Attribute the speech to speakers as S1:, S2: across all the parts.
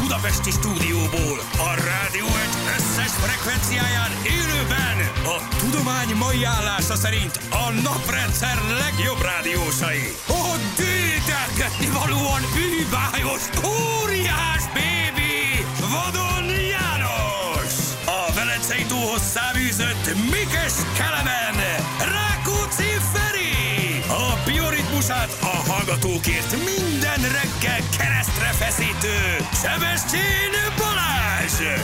S1: Budapesti stúdióból a Rádió egy összes frekvenciáján élőben a tudomány mai állása szerint a naprendszer legjobb rádiósai. A dédelgetni valóan bűbájos, óriás bébi, vadon János! A Velencei tóhoz száműzött Mikes Kelemen, Rákóczi Feri! A bioritmusát a hallgatókért minden reggel keresztre feszítő Sebestyén Balázs!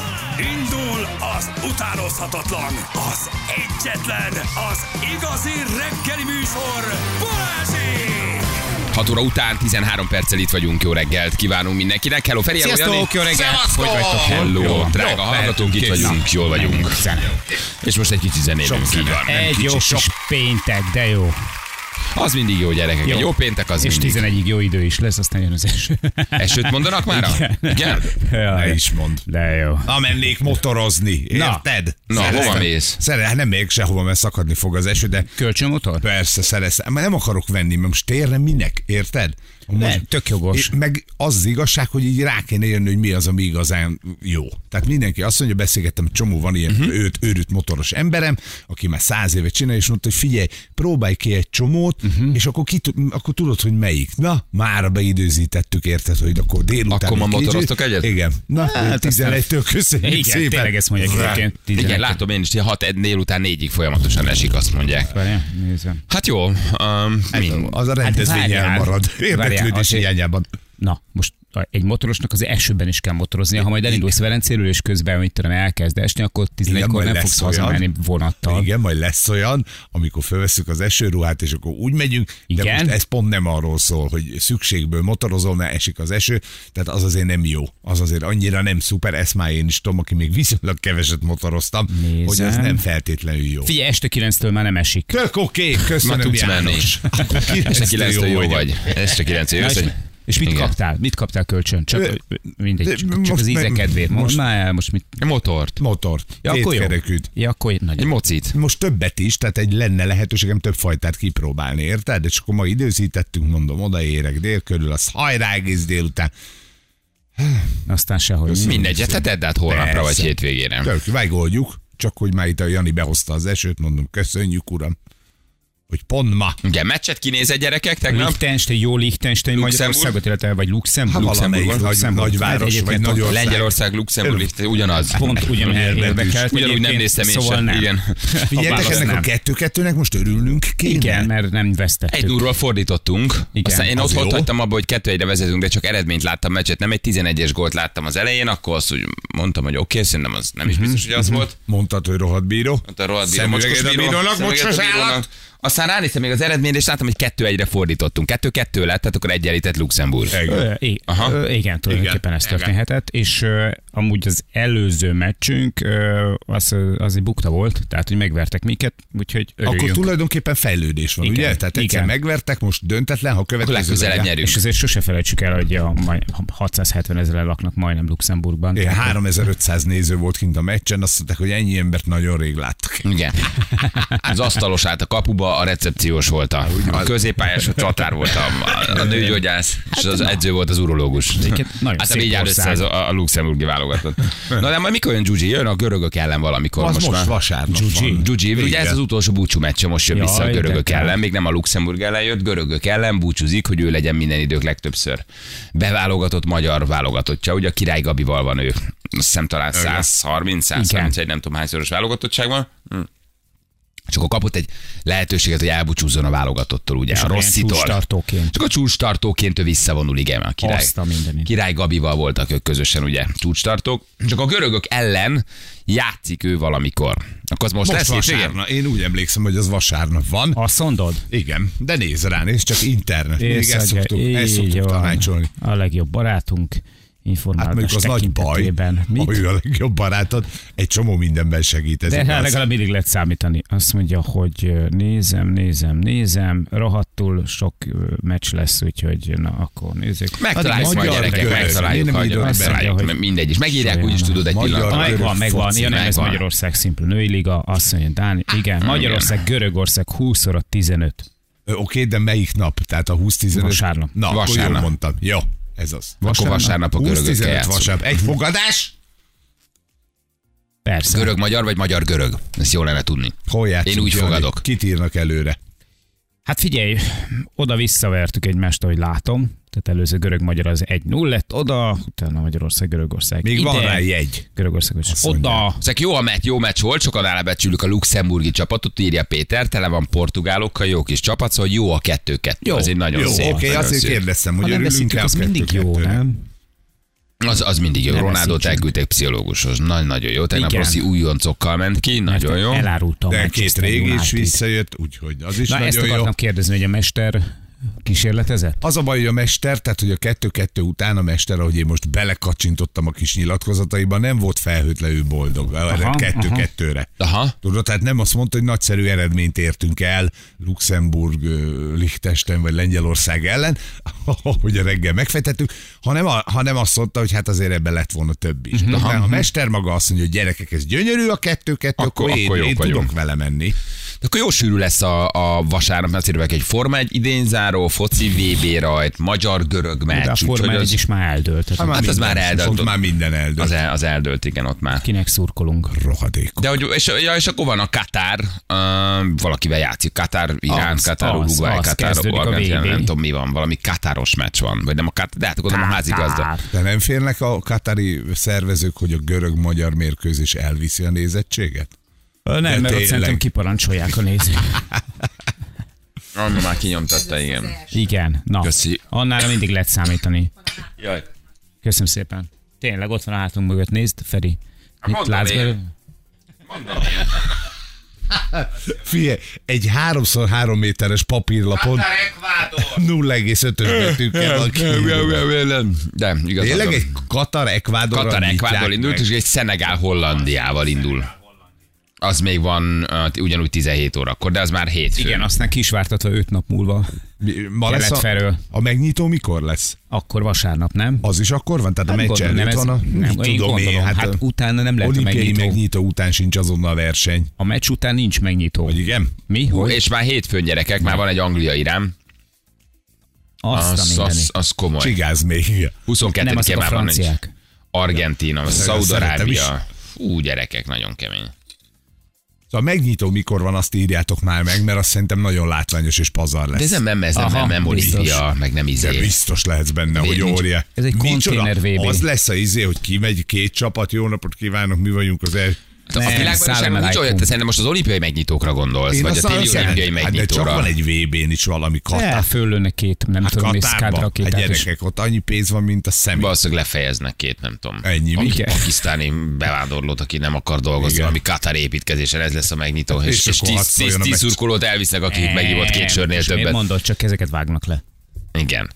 S1: Indul az utánozhatatlan, az egyetlen, az igazi reggeli műsor Balázsék!
S2: 6 óra után 13 perccel itt vagyunk. Jó reggelt kívánunk mindenkinek. Hello, Feri, hello, Jani.
S3: Sziasztok, jó reggelt! Hogy vagytok?
S2: Hello, drága hallgatók, itt
S3: kész.
S2: vagyunk, jól vagyunk. És most egy kicsi zenélünk.
S3: Sok
S2: Így
S3: zene.
S2: van, nem
S3: Egy
S2: kicsi,
S3: jó kis péntek, de jó.
S2: Az mindig jó, gyerekek. Jó,
S3: Jó.
S2: jó péntek az
S3: És
S2: mindig.
S3: 11-ig jó idő is lesz, aztán jön az eső.
S2: Esőt mondanak mára? Igen?
S3: Jaj,
S4: Ne is mond.
S3: De jó.
S4: Amennék motorozni,
S3: Na.
S4: érted?
S2: Na,
S4: Szeretem.
S2: hova mész?
S4: Szere, hát nem megyek sehova, mert szakadni fog az eső, de
S3: Kölcsönmotor?
S4: persze szereszem. Már nem akarok venni, mert most térre minek, érted?
S3: Ne, tök jogos.
S4: És meg az, az igazság, hogy így rá kéne jönni, hogy mi az, ami igazán jó. Tehát mindenki azt mondja, beszélgettem, csomó van ilyen
S3: Mhm.
S4: uh-huh. őt, őrült motoros emberem, aki már száz éve csinál, és mondta, hogy figyelj, próbálj ki egy csomót,
S3: Mhm.
S4: uh-huh. és akkor, ki, tud- akkor tudod, hogy melyik. Na, mára beidőzítettük, érted, hogy akkor délután.
S2: Akkor ma
S4: egy kicsit-
S2: motoroztok egyet?
S4: Igen. Na, hát 11-től köszönjük
S3: Igen,
S4: szépen.
S3: tényleg ezt mondják egyébként.
S2: Igen, látom én is, 6 délután 4-ig folyamatosan esik, azt mondják.
S3: Várjál, nézem.
S2: Hát jó, um, mind.
S4: Az a rendezvény
S3: Hát, várjál.
S4: elmarad.
S3: Várjál,
S4: Érdeklődés
S3: azért-
S4: hiányában.
S3: Na, most egy motorosnak az esőben is kell motoroznia. Ha majd elindulsz Velencéről, és közben, mit tudom, elkezd esni, akkor
S4: Igen,
S3: 11-kor
S4: majd
S3: nem
S4: lesz
S3: fogsz
S4: olyan.
S3: hazamenni vonattal.
S4: Igen, majd lesz olyan, amikor fölveszünk az esőruhát, és akkor úgy megyünk, de
S3: Igen?
S4: most ez pont nem arról szól, hogy szükségből motorozol, mert esik az eső, tehát az azért nem jó. Az azért annyira nem szuper, ezt már én is tudom, aki még viszonylag keveset motoroztam,
S3: Nézem.
S4: hogy ez nem feltétlenül jó.
S3: Figyelj, este 9-től már nem esik.
S4: Tök oké,
S2: Ma
S4: köszönöm
S2: tudsz menni.
S4: János. Akkor
S2: Este
S4: kilenctől
S2: 9 jó,
S4: vagy.
S2: vagy. Este 9 jó.
S3: Na, és,
S2: össze-
S3: és mit
S2: Igen.
S3: kaptál? Mit kaptál kölcsön? Csak,
S4: Ö,
S3: mindegy,
S4: de
S3: csak, csak
S4: most
S3: az íze
S4: meg-
S3: kedvéért. Most,
S4: most-
S3: már el, most mit?
S2: Motort.
S4: Motor.
S3: Ja, akkor jó.
S4: Kétkerekűt.
S3: Ja, akkor jó.
S2: Egy
S3: Nagyon.
S2: mocit.
S4: Most többet is, tehát egy lenne lehetőségem több fajtát kipróbálni, érted? És akkor ma időzítettünk, mondom, odaérek dél körül, az hajrá egész délután.
S3: Aztán sehol.
S2: Mindegy, hát tedd át holnapra vagy
S4: Persze.
S2: hétvégére.
S4: Tök, megoldjuk, csak hogy már itt a Jani behozta az esőt, mondom, köszönjük, uram, hogy pont ma.
S2: Igen, meccset kinézett gyerekek tegnap?
S3: Liechtenstein, jó Liechtenstein,
S2: Luxemburg?
S3: Magyarországot, illetve vagy Luxemburg.
S4: Ha Hát valamelyik
S3: Luxemburg,
S4: nagy-
S3: Luxemburg.
S4: nagyváros,
S3: Hát egyébként
S4: vagy
S3: pont-
S4: Magyarország.
S2: Lengyelország, Luxemburg, Liechtenstein, ugyanaz.
S3: Pont ugyanilyen
S4: Hát Érdekes.
S3: érdekelt.
S2: Ugyanúgy nem
S3: egyébként,
S2: néztem én
S3: szóval
S2: sem.
S3: nem.
S2: Igen.
S4: Figyeljetek,
S3: válasz
S4: ennek
S3: nem.
S4: a kettő-kettőnek most örülnünk kéne.
S3: Igen, mert nem
S2: Egy
S3: vesztettük.
S2: nullról fordítottunk. Igen,
S3: Igen,
S2: Aztán én
S3: az
S2: ott
S4: jó.
S2: volt hagytam abba, hogy kettő egyre vezetünk, de csak eredményt láttam meccset. Nem egy 11-es gólt láttam az elején, akkor azt úgy mondtam, hogy oké, okay, szerintem az nem is
S3: Mhm.
S2: biztos, hogy az volt.
S4: Mondtad, hogy rohadt bíró.
S1: Hát
S2: Ott a rohadt bíró,
S4: Szemüveget
S2: mocskos
S4: a
S2: bíró,
S4: bírónak,
S2: szemüveget a
S4: mocskos
S2: bírónak.
S4: állat.
S2: Aztán ránéztem még az eredményre, és láttam, hogy kettő egyre fordítottunk. Kettő-kettő lett, tehát akkor egyenlített Luxemburg.
S4: Igen.
S3: Ö, i-
S2: Aha.
S3: ö, Igen, tulajdonképpen ez történhetett, és ö, amúgy az előző meccsünk ö, az, ö, az egy bukta volt, tehát hogy megvertek minket, úgyhogy
S4: Akkor
S3: örüljünk.
S4: tulajdonképpen fejlődés van,
S3: Igen.
S4: ugye? Tehát egyszer
S3: Igen.
S4: megvertek, most döntetlen, ha következő
S2: legközelebb
S4: legyen.
S2: nyerünk.
S3: És azért sose felejtsük el, hogy a majd 670 ezeren laknak majdnem Luxemburgban.
S4: Igen, 3500 néző volt kint a meccsen, azt mondták, hogy ennyi embert nagyon rég láttak.
S2: Igen. Az asztalos állt a kapuba, a recepciós volt a, a középpályás, a csatár volt a, a, a nőgyógyász, és az edző volt az urológus.
S3: Hát Egyébként nagyon
S2: Hát
S3: szép
S2: így áll össze
S3: ország.
S2: ez a, a luxemburgi válogatott. Na de majd mikor jön Gyugyi? Jön a görögök ellen valamikor
S4: Az
S2: most,
S4: most
S2: már.
S4: vasárnap
S3: Gyugyi.
S4: van.
S2: Gyugyi, ugye ez
S4: Igen.
S2: az utolsó búcsú meccse, most jön
S3: Jaj,
S2: vissza a
S3: de
S2: görögök
S3: kár.
S2: ellen, még nem a Luxemburg ellen jött, görögök ellen búcsúzik, hogy ő legyen minden idők legtöbbször. Beválogatott magyar válogatottja, ugye a Király Gabival van ő. Azt hiszem talán 130, 131, nem tudom hányszoros válogatottság van. Hm. És akkor kapott egy lehetőséget, hogy elbúcsúzzon a válogatottól, ugye, a
S3: akkor ilyen
S2: rosszitól.
S3: csúcstartóként.
S2: Csak a csúcstartóként ő visszavonul, igen, a király.
S3: Azt a mindenit.
S2: Király Gabival voltak ők közösen, ugye, csúcstartók. Csak a görögök ellen játszik ő valamikor. Akkor az most,
S4: Most
S2: lesz hétvégén?
S4: vasárnap. Én úgy emlékszem, hogy az vasárnap van.
S3: Azt mondod?
S4: Igen, de nézz rá, nézd csak internet. Még
S3: Észre,
S4: ezt szoktuk, ezt
S3: így
S4: szoktuk
S3: van.
S4: tanácsolni.
S3: A legjobb barátunk
S4: Hát mondjuk
S3: informálás
S4: az nagy baj,
S3: tekintetében.
S4: ha
S3: Mit?
S4: ő a legjobb barátod, egy csomó mindenben segít. Ez
S3: De hát
S4: igaz.
S3: legalább mindig lehet számítani. Azt mondja, hogy ö, nézem, nézem, nézem, rohadtul sok ö, meccs lesz, úgyhogy na akkor nézzük. Hát,
S2: Megtaláljuk majd
S4: Hát magyar
S2: gyerekek,
S4: görög. Én
S2: megtaláljuk,
S4: nem
S2: hagyjuk,
S4: írom
S3: be.
S2: megtaláljuk,
S3: Azt mondja, hogy
S2: mindegy is. Megírják, úgyis
S3: sajnálom.
S2: tudod egy
S4: Magyar
S2: pillanat.
S4: görög
S3: Megvan, megvan.
S4: foci, Ah,
S3: Ja, nem, ez
S2: megvan.
S3: Magyarország szimpla női liga, azt mondja, Dáni. Igen, Magyarország, Görögország 20 óra 15.
S4: Ö, Oké, de melyik nap? Tehát a 20 15
S3: Vasárnap.
S4: Na, akkor jól
S2: Vasárnap.
S4: mondtam. Jó. Ez az.
S2: Akkor vasárnap a görögökkel
S4: 20-15
S2: játszunk.
S4: vasárnap. Egy fogadás?
S3: Persze.
S2: Görög-magyar vagy magyar-görög? Ezt jól lenne tudni.
S4: Hol játszunk?
S2: Én úgy
S4: Jani?
S2: fogadok.
S4: Kit írnak előre?
S3: Hát figyelj, oda visszavertük egymást, ahogy látom. Tehát előző görög-magyar az 1-0 lett, oda, utána Magyarország, Görögország.
S4: Még
S3: ide,
S4: van rá jegy.
S3: Görögország is.
S4: Azt
S3: Oda.
S2: Ezek jó a meccs, jó meccs volt, sokan alábecsülik a luxemburgi csapatot, írja Péter, tele van portugálokkal, jó kis csapat, szóval jó a kettő-kettő. Jó, az egy nagyon
S4: Jó,
S2: szép.
S4: oké,
S2: nagyon
S4: azért
S2: szép.
S4: kérdeztem,
S3: Ha
S4: hogy
S3: nem veszítjük,
S4: örülünk-e a
S3: az mindig jó,
S4: kettő-kettőnek?
S3: nem?
S2: Az, az mindig jó.
S3: Nem
S2: Ronaldot
S3: veszítsük.
S2: elküldték pszichológushoz. Nagy, nagyon jó. Tegnap
S3: Igen.
S2: Rossi újoncokkal ment ki. Nagyon jó.
S3: Elárultam.
S4: De két régi is visszajött, úgyhogy az is
S3: Na ezt
S4: nagyon jó.
S3: akartam kérdezni, hogy a mester kísérletezett?
S4: Az a baj, hogy a mester, tehát hogy a kettő-kettő után a mester, ahogy én most belekacsintottam a kis nyilatkozataiba, nem volt felhőtlenül boldog erre
S3: aha.
S4: kettő-kettőre.
S2: Aha.
S4: Tudod, tehát nem azt mondta, hogy nagyszerű eredményt értünk el Luxemburg, ö, Liechtenstein vagy Lengyelország ellen, ahogy a reggel megfejtettük, hanem, a, hanem azt mondta, hogy hát azért ebben lett volna több
S2: Mhm.
S4: is. Uh-huh. Ha a mester maga azt mondja, hogy gyerekek, ez gyönyörű a kettő-kettő,
S2: Akkor-
S4: akkor, én,
S2: akkor Hát jók
S4: én
S2: vagyunk.
S4: tudok vele menni.
S2: De akkor jó sűrű lesz a, a vasárnap, mert azért egy Forma egy idényzáró, foci VB rajt, magyar-görög meccs.
S3: De a
S2: úgyhogy
S3: Forma
S2: az,
S3: 1 is már eldőlt. Tehát
S2: Hát az már eldölt.
S4: Ott már minden eldölt.
S2: az,
S4: Az
S2: el, az eldőlt, igen, ott már.
S3: kinek szurkolunk?
S4: rohadék.
S2: De hogy, és, ja, és akkor van a Katár, uh, valakivel játszik, Katár, Irán,
S3: Az,
S2: Katár,
S3: az,
S2: Uruguay,
S3: az,
S2: Katár,
S3: kezdődik a
S2: Argentina,
S3: VB.
S2: nem tudom mi van, valami Katáros meccs van, vagy nem a Katár, de hát akkor nem a házigazda.
S3: Kátár.
S4: De nem félnek a katari szervezők, hogy a görög-magyar mérkőzés elviszi a nézettséget?
S3: Ö, Nem, mert ott
S4: tényleg.
S3: szerintem kiparancsolják a nézők.
S2: Anna már kinyomtatta, igen.
S3: Igen, na.
S2: Köszi.
S3: Annára mindig lehet számítani.
S2: Jaj.
S3: Köszönöm szépen. Tényleg ott van a hátunk mögött, nézd, Feri. Mit
S2: mondom
S3: látsz
S2: Hát én.
S3: belőle?
S4: Figyelj, egy 3x3 méteres papírlapon 0,5-ös betűkkel van kiírva.
S2: De igaz.
S4: Tényleg egy Katar Ekvádorral
S2: Katar
S4: nyitják
S2: Ekvádor
S4: meg?
S2: indult, és egy Szenegál Hollandiával indul. Az még van ö, ugyanúgy 17 órakor, de az már hétfő.
S3: Igen, aztán ki is vártatva öt nap múlva.
S4: Mi- Ma lesz
S3: Kelet
S4: a,
S3: felől.
S4: a megnyitó mikor lesz?
S3: Akkor vasárnap, nem?
S4: Az is akkor van? Tehát a meccs
S3: Hát gondolom,
S4: előtt
S3: ez-
S4: van a...
S3: nem,
S4: Mit
S3: én
S4: tudom
S3: gondolom, hát,
S4: a
S3: utána nem lehet a
S4: olimpiai
S3: megnyitó.
S4: megnyitó után sincs azonnal verseny.
S3: A meccs után nincs megnyitó.
S4: Vagy igen?
S3: Mi?
S2: Hú,
S3: Hogy?
S2: és már hétfőn gyerekek, már van egy Anglia irám.
S3: Azt a
S2: Az,
S3: mindenit.
S2: az, az komoly.
S4: Csigáz még. igen.
S3: Nem,
S2: 22
S3: azok a
S2: már van egy.
S3: franciák.
S2: Argentina,
S4: szeretem is.
S2: Szaudarábia. Ú, gyerekek, nagyon kemény.
S4: Szóval a megnyitó mikor van, azt írjátok már meg, mert azt szerintem nagyon látványos és pazar lesz.
S2: De ez nem, nem, ez nem,
S3: Aha,
S2: nem, nem
S3: biztos.
S2: Olimpia, meg nem
S4: De
S2: izé.
S4: biztos lehetsz benne, hogy
S2: nincs-
S4: óriá.
S3: ez egy
S4: Micsoda?
S3: konténer VB.
S4: Az lesz a izé, hogy kimegy két csapat, jó napot kívánok, mi vagyunk az el.
S2: A
S3: Nem,
S2: világbajnokságon nincs
S3: Szállam
S2: olyan,
S3: Alaikum.
S2: te szerintem most az olimpiai megnyitókra gondolsz, vagy a
S4: azt
S2: téli
S4: azt szeretem.
S2: olimpiai
S4: hát de csak
S2: megnyitóra.
S4: van egy VB-n is valami
S3: Ne,
S4: Katár.
S3: föllőnek két, nem
S4: Hát
S3: Hát, tudom, mi
S4: Katárban. Hát
S3: szkádrakét.
S4: gyerekek, ott annyi pénz van, mint a személy.
S2: Valószínűleg lefejeznek két, nem tudom.
S4: Ennyi,
S2: Aki
S3: mi?
S2: pakisztáni bevándorlót, aki nem akar dolgozni,
S4: Igen. Hát
S2: ami Katar építkezésen, ez lesz a megnyitó.
S4: És
S2: És, és
S4: akkor
S2: tíz,
S4: hadd
S2: tíz,
S4: szóljon a
S2: tíz
S4: meccs.
S2: szurkolót elvisznek, aki megívott két sörnél többet.
S3: mondod, csak ezeket vágnak le.
S2: Igen.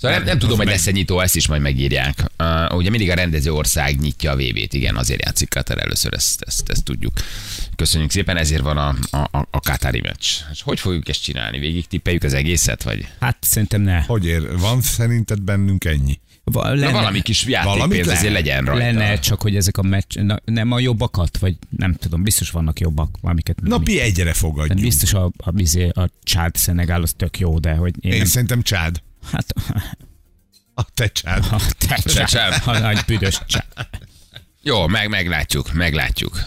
S2: Szóval nem, nem tudom, hogy
S4: meg-
S2: lesz-e nyitó, ezt is majd megírják. Uh, ugye mindig a rendező ország nyitja a VB-t, igen, azért játszik Katar először, ezt, ezt, ezt tudjuk. Köszönjük szépen, ezért van a, a, a, a Katári meccs. És hogy fogjuk ezt csinálni? Végig tippeljük az egészet, vagy?
S3: Hát szerintem ne.
S4: Hogy ér? Van szerinted bennünk ennyi?
S3: Va-
S2: Na,
S3: lenne-
S2: valami kis
S4: Valamit
S2: játékpénz
S4: lehet.
S2: azért legyen rajta.
S3: Lenne csak, hogy ezek a meccs, na, nem a jobbakat, vagy nem tudom, biztos vannak jobbak, amiket mi- Hát
S4: Napi egyre
S3: de
S4: fogadjuk.
S3: biztos a, a, bizé, a csád Szenegál az tök jó, de hogy én,
S4: Én
S3: nem,
S4: szerintem csád.
S3: hát
S4: A te csád.
S3: a te
S2: csád.
S3: csád, a nagy büdös csád.
S2: Jó, meg, meglátjuk, meglátjuk.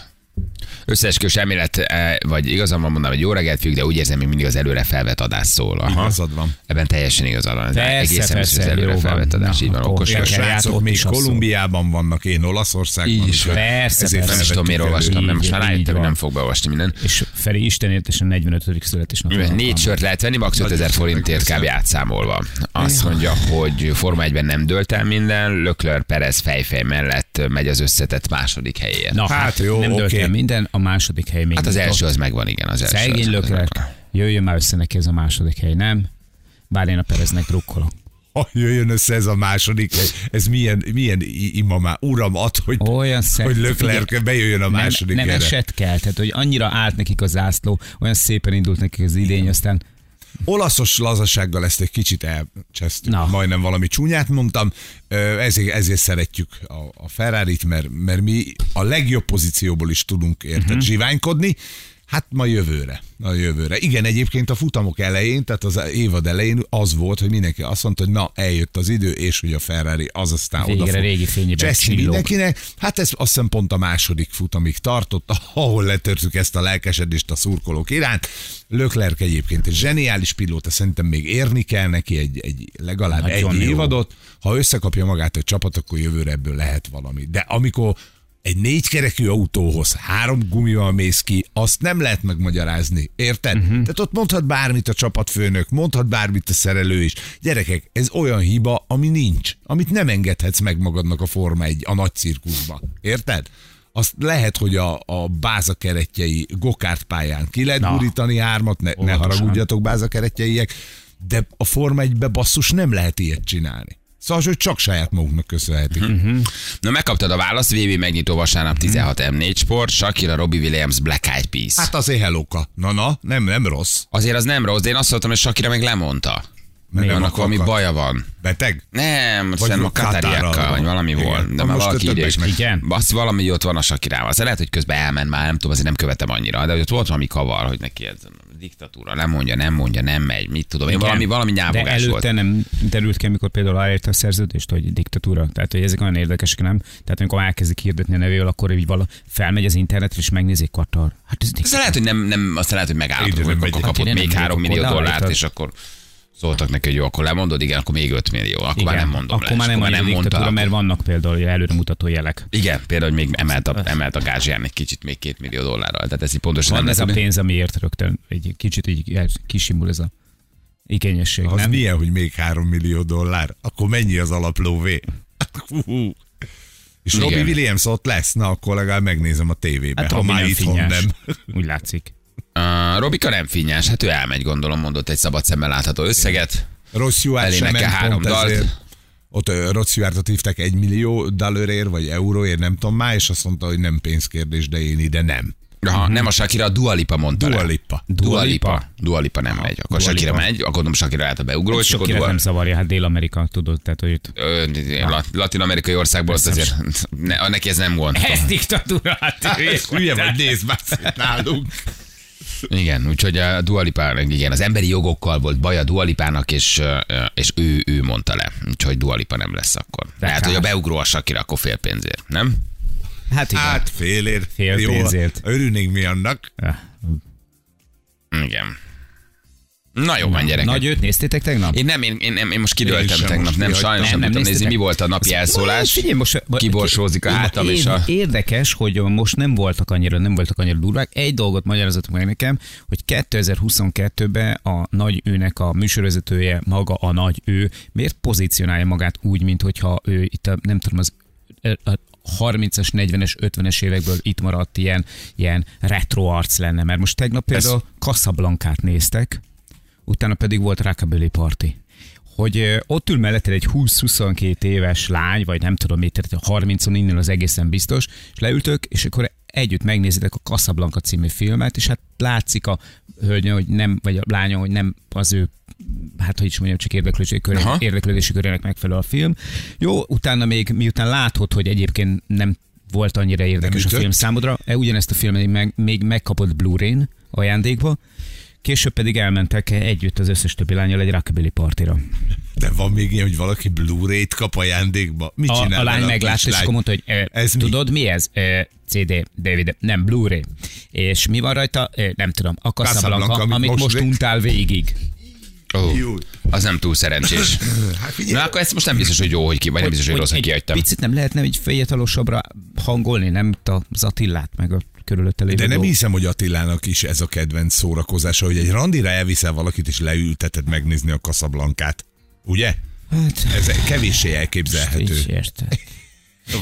S2: Összeesküvés elmélet, eh, vagy igazam van mondanom, hogy jó reggelt függ, de úgy érzem, hogy mindig az előre felvett adás szól. Aha.
S4: Igazad van.
S2: Ebben teljesen igazad van. Ez
S3: Persze,
S2: egészen biztos az
S3: persze,
S2: előre
S3: jó van.
S2: felvett adás,
S3: Na,
S2: így van,
S3: akkor
S2: okos
S4: És a
S3: Kell játszok,
S4: srácok még
S3: is az szó.
S4: Kolumbiában vannak, én Olaszországban.
S2: Így is
S4: úgyhogy
S3: van. Persze,
S4: ezért
S3: persze.
S2: Nem
S4: nem
S2: is tudom, miért
S4: vettük
S2: olvastam,
S4: elő.
S2: nem, most
S3: Így,
S2: már rájöttem,
S3: így
S2: hogy nem
S3: van.
S2: fog beolvasni minden.
S3: És Feri Isten értesen 45. születésnapja.
S2: Négy sört lehet venni, max. 5000 forintért kb. átszámolva. Azt mondja, hogy Forma 1-ben nem dölt el minden, Löklör Perez fejfej mellett megy az összetett második helyért.
S3: Na, hát,
S4: Hát jó,
S3: nem dölt
S4: oké.
S3: el minden, a második hely még
S2: Hát az
S3: nyitott.
S2: első az megvan, igen, az első.
S3: Szegény
S2: az- az
S3: Lökler,
S2: megvan.
S3: jöjjön már össze neki ez a második hely, nem? Bár én a Pereznek drukkolok.
S4: Ha jöjjön össze ez a második, hely. ez milyen, milyen i- ima már. Uram, ad, hogy,
S3: Olyan szép.
S4: hogy Lökler bejöjjön a
S3: nem,
S4: második
S3: nem
S4: erre.
S3: esett kell, tehát hogy annyira állt nekik a zászló, olyan szépen indult nekik az idény, aztán
S4: Olaszos lazasággal ezt egy kicsit elcsesztük,
S3: Na.
S4: Na. majdnem valami csúnyát mondtam, Ö, ezért, ezért szeretjük a,
S3: Mhm.
S4: a Ferrari-t, mert, mert mi a legjobb pozícióból is tudunk érted uh-huh. zsiványkodni, Hát ma jövőre. A jövőre. Igen, egyébként a futamok elején, tehát az évad elején az volt, hogy mindenki azt mondta, hogy na, eljött az idő, és hogy a Ferrari az aztán
S3: Végre
S4: oda fog
S3: régi fényében
S4: cseszni
S3: csillog.
S4: mindenkinek. Hát ez azt hiszem pont a második futamig tartott, ahol letörtük ezt a lelkesedést a szurkolók iránt. Leclerc egyébként egy zseniális pilóta, szerintem még érni kell neki egy, egy legalább
S3: Nagyon
S4: egy
S3: jó.
S4: évadot. Ha összekapja magát egy csapat, akkor jövőre ebből lehet valami. De amikor egy négykerekű autóhoz három gumival mész ki, azt nem lehet megmagyarázni. Érted? Uh-huh. Tehát ott mondhat bármit a csapatfőnök, mondhat bármit a szerelő is. Gyerekek, ez olyan hiba, ami nincs, amit nem engedhetsz meg magadnak a Forma egy a nagy cirkuszba. Érted? Azt lehet, hogy a, a bázakeretjei gokárt pályán ki lehet
S3: Na.
S4: gurítani hármat, ne, ne
S3: Óvatosan.
S4: haragudjatok bázakeretjeiek, de a Forma 1 basszus nem lehet ilyet csinálni. Szóval, hogy csak saját magunknak köszönhetik.
S2: Na megkaptad a választ, VB megnyitó vasárnap 16 M4 Sport, Shakira, Robbie Williams, Black Eyed Peas.
S4: Hát azért hellóka. Na, na, nem, nem rossz.
S2: Azért az nem rossz, de én azt hallottam, hogy Shakira meg lemondta.
S4: Mert
S2: Mert annak valami
S4: akart.
S2: baja van.
S4: Beteg?
S2: Nem, szerintem a
S4: Katárral
S2: katariakkal,
S4: van.
S2: vagy valami
S4: Igen.
S2: volt. De
S4: Na
S2: már
S4: most
S2: valaki
S4: a
S2: írja,
S4: többeknek.
S2: Igen.
S3: Igen.
S2: Azt valami ott van a Sakirával. Aztán lehet, hogy közben elment már, nem tudom, azért nem követem annyira, de hogy ott volt valami kavar, hogy neki ez diktatúra, nem mondja, nem mondja, nem megy, mit tudom én,
S3: Igen.
S2: valami, valami
S3: De
S2: nyávogás
S3: előtte
S2: volt.
S3: nem derült ki, amikor például aláírta a szerződést, hogy diktatúra. Tehát, hogy ezek olyan érdekesek, nem? Tehát, amikor elkezdik hirdetni a nevével, akkor így vala felmegy az internetre, és megnézik Katar. Hát ez
S2: Aztán lehet, hogy nem, nem aztán lehet, hogy megállapodott,
S4: Időben
S2: hogy
S4: megy.
S2: akkor
S3: Hát
S2: kapott
S3: igen,
S2: még
S3: nem
S2: 3 millió
S3: oda
S2: dollárt,
S3: állítod.
S2: és akkor szóltak neki, hogy jó, akkor lemondod, igen, akkor még 5 millió, akkor
S3: Igen.
S2: már nem mondom
S3: Akkor
S2: le,
S3: már
S2: és
S3: nem
S2: akkor
S3: mondja diktatúra,
S2: akkor-
S3: mert vannak például ilyen előremutató jelek.
S2: Igen, például, hogy még emelt a, emelt a gázsján egy kicsit, még két millió dollárral. Tehát ez így pontosan
S3: Van
S2: nem
S3: ez a
S2: lehet tudni.
S3: pénz, amiért rögtön egy kicsit így kisimul ez a igényesség,
S4: Az
S3: nem?
S4: nem. milyen, hogy még 3 millió dollár? Akkor mennyi az alaplóvé? Hát, Hú. És
S2: Igen.
S4: Robbie Williams ott lesz? Na, akkor legalább megnézem a tévébe, hát, ha
S3: Robi
S4: már
S3: nem
S4: itthon
S3: finnyás.
S4: nem.
S3: Úgy látszik.
S2: Uh, Robika nem finnyás, hát ő elmegy, gondolom, mondott egy szabad szemmel látható összeget.
S4: Rossz Juhár sem
S2: Elénekel
S4: ment
S2: három
S4: pont
S2: dalt.
S4: ezért. Ott ö, Rossz Juhárt hívták egy millió dollárért, vagy euróért, nem tudom már, és azt mondta, hogy nem pénzkérdés, de én ide nem.
S2: Aha, nem a Shakira, a Dua Lipa mondta
S4: Dua
S2: le.
S4: Lipa.
S2: Dua
S3: Mhm. Dua
S2: Lipa.
S3: Lipa.
S2: Dua Lipa nem megy. Akkor
S3: Dua
S2: Shakira
S3: Lipa.
S2: megy, akkor gondolom Shakira lehet a beugró, és akkor
S3: Sok Ah.
S2: Dua...
S3: nem zavarja, hát Dél-Amerika, tudod, tehát, hogy itt...
S2: Latin amerikai országból azt azért ne, neki ez nem gond.
S3: Ez diktatúra, hát
S4: Hülye vagy, nézd már szét nálunk.
S2: Igen, úgyhogy a Dualipának, igen, az emberi jogokkal volt baj a Dualipának, és, ö, ö, és ő, ő mondta le, úgyhogy Dualipa nem lesz akkor. Lehet,
S3: kár.
S2: hogy a beugró a Shakira, akkor fél pénzért, nem?
S3: Hát igen.
S4: Hát félért.
S3: Fél
S4: Jó,
S3: pénzért.
S4: Örülnénk mi annak.
S2: Igen. Na jó van, gyerekek.
S3: Nagy őt néztétek tegnap?
S2: Én nem, én, én, nem, én most kidőltem
S4: Én sem,
S2: tegnap,
S4: most
S2: nem,
S4: kihagytam.
S2: sajnos nem, nem
S3: Nem, nem
S2: tudtam nézni, mi
S3: néztétek.
S2: volt a napi elszólás.
S3: Figyelj, most
S2: Kiborsózik a hátam és a...
S3: Érdekes, hogy most nem voltak annyira, nem voltak annyira durvák. Egy dolgot magyarázatok meg nekem, hogy 2022-ben a nagy őnek a műsorvezetője, maga a nagy ő, miért pozícionálja magát úgy, mint hogyha ő itt a, nem tudom, az a 30-as, 40-es, 50-es évekből itt maradt ilyen, ilyen retro arc lenne. Mert most tegnap például Ez... Casablancát néztek, utána pedig volt Rockabilly Party. Hogy ö, ott ül mellette egy 20-22 éves lány, vagy nem tudom mit, tehát 30 innen az egészen biztos, és leültök, és akkor együtt megnézitek a Casablanca című filmet, és hát látszik a hölgyön, hogy nem, vagy a lányon, hogy nem az ő hát hogy is mondjam, csak érdeklődési, köré,
S2: Aha.
S3: érdeklődési körének megfelel a film. Jó, utána még miután látod, hogy egyébként nem volt annyira érdekes a
S4: ütött?
S3: film számodra, e, ugyanezt a filmet meg, még megkapott Blu-ray-n ajándékba, Később pedig elmentek e, együtt az összes többi lányjal egy rockabilly partira.
S4: De van még ilyen, hogy valaki Blu-ray-t kap ajándékba. Mit
S3: A,
S4: csinál?
S3: a lány
S4: vele
S3: meglátta, és
S4: kislány?
S3: akkor mondta, hogy e,
S4: Ez
S3: ez
S4: mi?
S3: tudod mi, mi ez? E, CD, David, nem, Blu-ray. És mi van rajta? E, nem tudom, a Casablanca,
S4: Casablanca,
S3: amit, amit most, most
S4: vég-
S3: untál végig.
S2: Ó,
S4: Jó.
S2: az nem túl szerencsés.
S4: Hát figyelj,
S2: Na akkor ezt most nem biztos, hogy jó, hogy ki, vagy nem biztos, hogy rossz, hogy
S3: egy
S2: kihagytam.
S3: Picit nem lehetne egy fiatalosabbra hangolni, nem itt az Attillát, meg a körülötte lévő
S4: De nem
S3: dolgok.
S4: hiszem, hogy Attilának is ez a kedvenc szórakozása, hogy egy randira elviszel valakit, és leülteted megnézni a kaszablankát. Ugye?
S3: Hát,
S4: Ez kevéssé
S3: így
S4: elképzelhető.
S3: érted.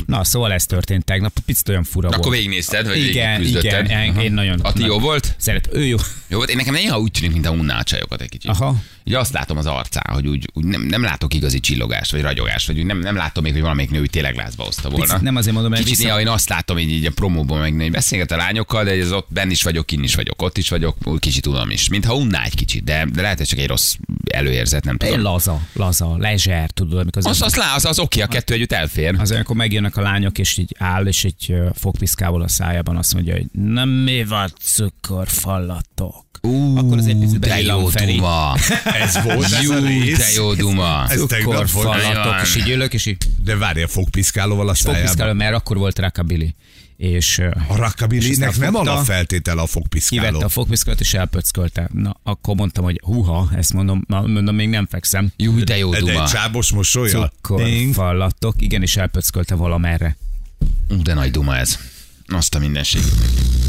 S3: Na, szóval ez történt tegnap, picit olyan fura
S2: Na,
S3: volt.
S2: akkor végignézted, vagy
S3: igen,
S2: végigküzdötted?
S3: igen, én, én nagyon...
S2: Ati jó volt?
S3: Szeret, ő jó.
S2: hát Jó volt, én nekem néha úgy tűnik, mint a unná a csajokat egy kicsit.
S3: Aha.
S2: Így Ugye azt látom az arcán, hogy úgy, úgy nem, nem, látok igazi csillogást, vagy ragyogást, vagy úgy nem, nem látom még, hogy valamelyik nő úgy tényleg lázba hozta volna.
S3: Picit nem azért mondom, mert
S2: Kicsit
S3: vissza-
S2: néha én azt látom, így, így a promóban meg hogy beszélget a lányokkal, de ez ott benn is vagyok, kinn is vagyok, ott is vagyok, úgy kicsit unom is. Mintha unná egy kicsit, de, de lehet, hogy csak egy rossz előérzet, nem
S3: Én
S2: tudom.
S3: laza, laza, lezser, tudod, amikor az,
S2: Az, az, lá, az, az oké, a kettő együtt elfér.
S3: az amikor megjönnek a lányok, és így áll, és egy ö, fogpiszkával a szájában azt mondja, hogy nem mi van cukorfallatok.
S2: Ú,
S3: Akkor az egy picit
S2: de
S3: beillan
S2: jó
S3: Feri.
S2: duma.
S4: Ez volt ez
S2: Jú,
S4: a rész.
S2: de jó duma.
S4: Ez tegnap volt.
S3: Cukorfallatok, és így ülök, és így
S4: De várj, a fogpiszkálóval a szájában.
S3: fogpiszkálom, mert akkor volt rockabilly. És ö,
S4: A
S3: És aztán
S4: rakabilinek nem
S3: fogta.
S4: alapfeltétele a
S3: kivette
S4: fogpiszkáló.
S3: a fogpiszkálót, és elpöckölte. Na, akkor mondtam, hogy húha, ezt mondom, na, mondom, még nem fekszem.
S2: Jú, de jó
S4: De egy
S2: duma.
S4: csábos mosolya.
S3: Cukorfallatok, igenis elpöckölte valamerre.
S2: Ú, de nagy duma ez. Azt a mindenség.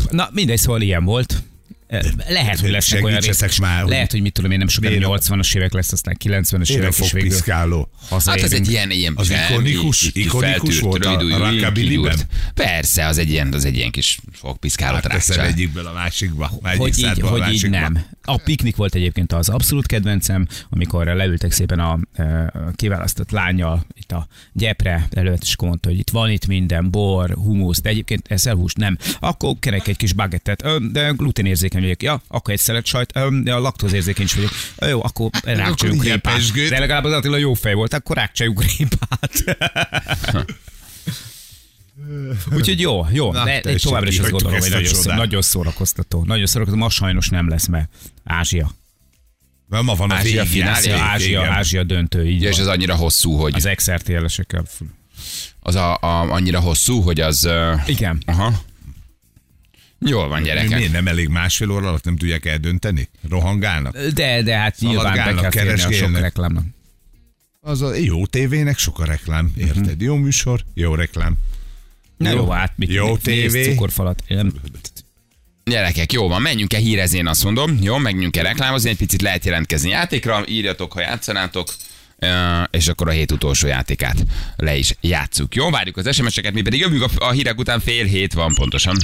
S3: Na mindegy, szóval ilyen volt. E, Lehet, hogy lesznek olyan
S4: Segítsetek
S3: részek.
S4: már, hogy
S3: Lehet, hogy mit tudom én, nem sokára
S4: miért-
S3: 80-as évek lesz, aztán 90-es
S4: Én a
S3: évek is végül
S4: fogpiszkáló.
S2: Hát ez
S3: hazaérünk.
S2: egy ilyen, ilyen
S4: Az
S2: semmi,
S4: ikonikus-
S2: így- így
S4: ikonikus
S2: feltűrt,
S4: volt a-
S2: rövidújú,
S4: a
S2: így
S4: Rockabilly-ben?
S2: kigyúrt. Persze, az egy ilyen, az egy ilyen kis fogpiszkáló
S4: Teszel
S2: rákcsá.
S4: egyikből a másikba. Már egyik
S3: hogy így,
S4: szádból a
S3: hogy így
S4: másikba.
S3: nem. A piknik volt egyébként az abszolút kedvencem, amikor leültek szépen a e, kiválasztott lányjal itt a gyepre előtt, és akkor mondta, hogy itt van itt minden, bor, humusz, de egyébként eszel húst? Nem. Akkor kerek egy kis bagettet, Ö, de gluténérzékeny vagyok. Ja, akkor egy szelet sajt, Ö, de a laktózérzékeny is vagyok. Ö, jó, akkor rákcsajuk
S4: így
S3: répát.
S4: Hát, pesgőt.
S3: De legalább az Attila jó fej volt, akkor rákcsajuk répát. Úgyhogy jó, jó,
S4: Na,
S3: Na, de én
S4: tessék,
S3: továbbra is azt
S4: kihagytuk
S3: gondolom,
S4: ezt
S3: hogy
S4: a
S3: nagyon, szó,
S4: csodát.
S3: nagyon szórakoztató. Nagyon szórakoztató, ma sajnos nem lesz, mert Ázsia.
S4: Mert ma van a
S2: Ázsia
S4: végjáték,
S2: finálé?
S3: Ázsia, Ázsia,
S4: igen.
S3: Ázsia döntő, így
S2: Ja, és
S3: van.
S2: ez annyira hosszú, hogy
S3: Az XRTL-esekkel.
S2: az a, a, annyira hosszú, hogy az... ö,
S3: Igen.
S2: Aha. Jól van, gyerekek.
S4: Miért nem elég másfél óra alatt nem tudják eldönteni? Rohangálnak?
S3: De, de hát nyilván be kell
S4: Szaladgálnak,
S3: férni a sok
S4: keresgélnek.
S3: reklámnak.
S4: Az a jó tévének sok a
S3: Mhm.
S4: reklám, érted? Jó műsor, jó reklám.
S3: Na
S4: Jó.
S3: jó, hát mit,
S4: Jó
S3: mit néz,
S4: tévé.
S3: cukorfalat. Nem.
S2: Gyerekek, jó van, menjünk el hírezni, én azt mondom. Jó, menjünk el reklámozni, egy picit lehet jelentkezni játékra, írjatok, ha játszanátok, ö, és akkor a hét utolsó játékát le is játsszuk. Jó, várjuk az SMS-eket, mi pedig jövünk a, a hírek után fél hét van pontosan.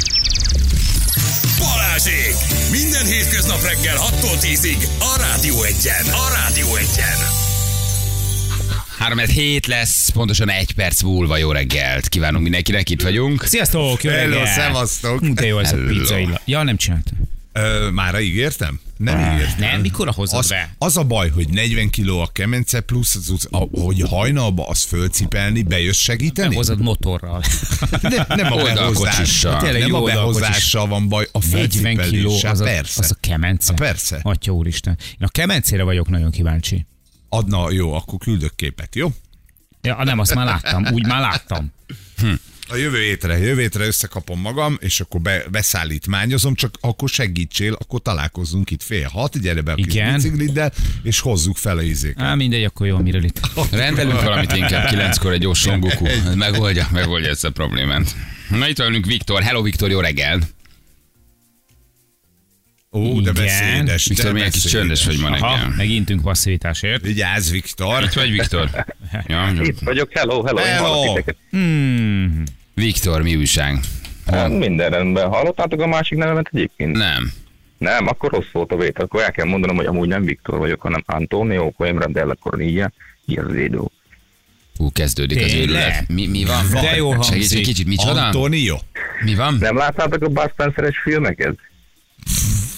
S1: Balázsék! Minden hétköznap reggel 6-tól 10-ig a Rádió Egyen. A Rádió Egyen.
S2: 3 hét lesz, pontosan egy perc múlva jó reggelt. Kívánunk mindenkinek, itt vagyunk.
S3: Sziasztok, jó
S4: Hello,
S3: reggel!
S4: szevasztok!
S3: Ú, De jó ez a
S2: Hello.
S3: pizza illa. Ja, nem csináltam.
S4: Ö, mára ígértem? Nem ígértem.
S3: Ah, Nem, mikor hozod
S4: Az,
S3: be?
S4: az a baj, hogy 40 kiló a kemence plusz, az, az, a, hogy hajnalba az fölcipelni, bejössz segíteni?
S3: Hozod motorral.
S4: Nem, nem a
S2: Oldalkocsissal.
S4: behozással.
S3: Tényleg
S4: Nem
S3: jó
S4: a
S3: oldalkocsis.
S4: behozással van baj, a
S3: 40 kiló,
S4: fölcipeléssel.
S3: az a,
S4: Persze.
S3: az a kemence.
S4: Na, persze.
S3: Atya úristen. Én a kemencére vagyok nagyon kíváncsi.
S4: Adna, jó, akkor küldök képet, jó?
S3: Ja, ah, nem, azt már láttam, úgy már láttam.
S4: A jövő hétre, jövő hétre összekapom magam, és akkor be, beszállítmányozom, csak akkor segítsél, akkor találkozunk itt fél hat, gyere be a kis
S3: Igen.
S4: bicikliddel, és hozzuk fel a izéket.
S3: Á, mindegy, akkor jó, miről itt.
S2: Rendelünk valamit inkább, kilenckor egy gyors Songoku. Megoldja, megoldja ezt a problémát. Na itt van velünk Viktor. Hello Viktor, jó reggel.
S4: Ó, de
S3: Igen.
S4: beszédes. de
S2: Viktor, milyen kis
S4: beszédes.
S2: csöndes vagy ma
S3: Aha,
S2: reggel.
S3: megintünk passzivitásért.
S4: Vigyázz, Viktor!
S2: Itt vagy Viktor? Ja, jó.
S5: Itt vagyok, hello, hello,
S4: Hello.
S5: hello. én hallok titeket.
S3: Hmm.
S2: Viktor, mi újság?
S5: Hát, Minden rendben. Hallottátok a másik nevemet egyébként?
S2: Nem.
S5: Nem, akkor rossz volt a vétel. Akkor el kell mondanom, hogy amúgy nem Viktor vagyok, hanem Antonio Coimbra della Corniglia, Irzédó.
S2: Ú, kezdődik az
S3: Tényleg?
S2: őrület. Mi, mi van?
S3: De jó
S2: Segíts egy
S3: hangzik.
S2: kicsit, micsoda?
S4: Antonio.
S2: Mi van?
S5: Nem láttátok a Bud Spencer-es filmeket?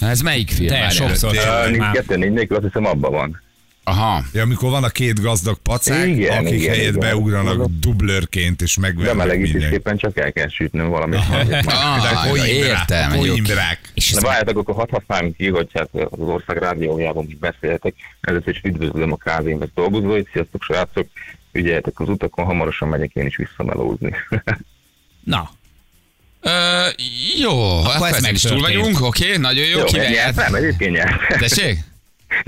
S2: Ez melyik film?
S3: Te
S2: Várjál.
S3: sokszor
S4: előtt.
S5: Ö,
S3: láttam
S5: Nincs
S3: már.
S5: kettő, négy nélkül, azt hiszem abban van.
S2: Aha.
S4: Ja, amikor van a két gazdag pacák,
S5: Igen,
S4: akik
S5: igen,
S4: helyett
S5: igen.
S4: beugranak dublőrként, és
S5: De
S4: megvernek mindenkit.
S5: melegítésképpen csak el kell sütnöm valamit. azért már.
S2: Ah,
S4: Coimbra,
S2: értem. jó.
S4: Coimbrák.
S3: És
S5: Na
S3: ez
S5: várjátok, akkor hadd használjam ki, hogy hát az ország rádiójában is beszéltek. Először is üdvözlöm a kávémet dolgozóit. Sziasztok, srácok! Ügyeljetek az utakon, hamarosan megyek én is visszamelózni.
S3: Na,
S2: Ö, jó, akkor
S3: ez
S2: ezt meg is túl
S3: megtörtént.
S2: vagyunk, oké, nagyon jó,
S5: Jó,
S2: kivel járt?
S5: nyertem, egyébként nyertem.
S2: Tessék?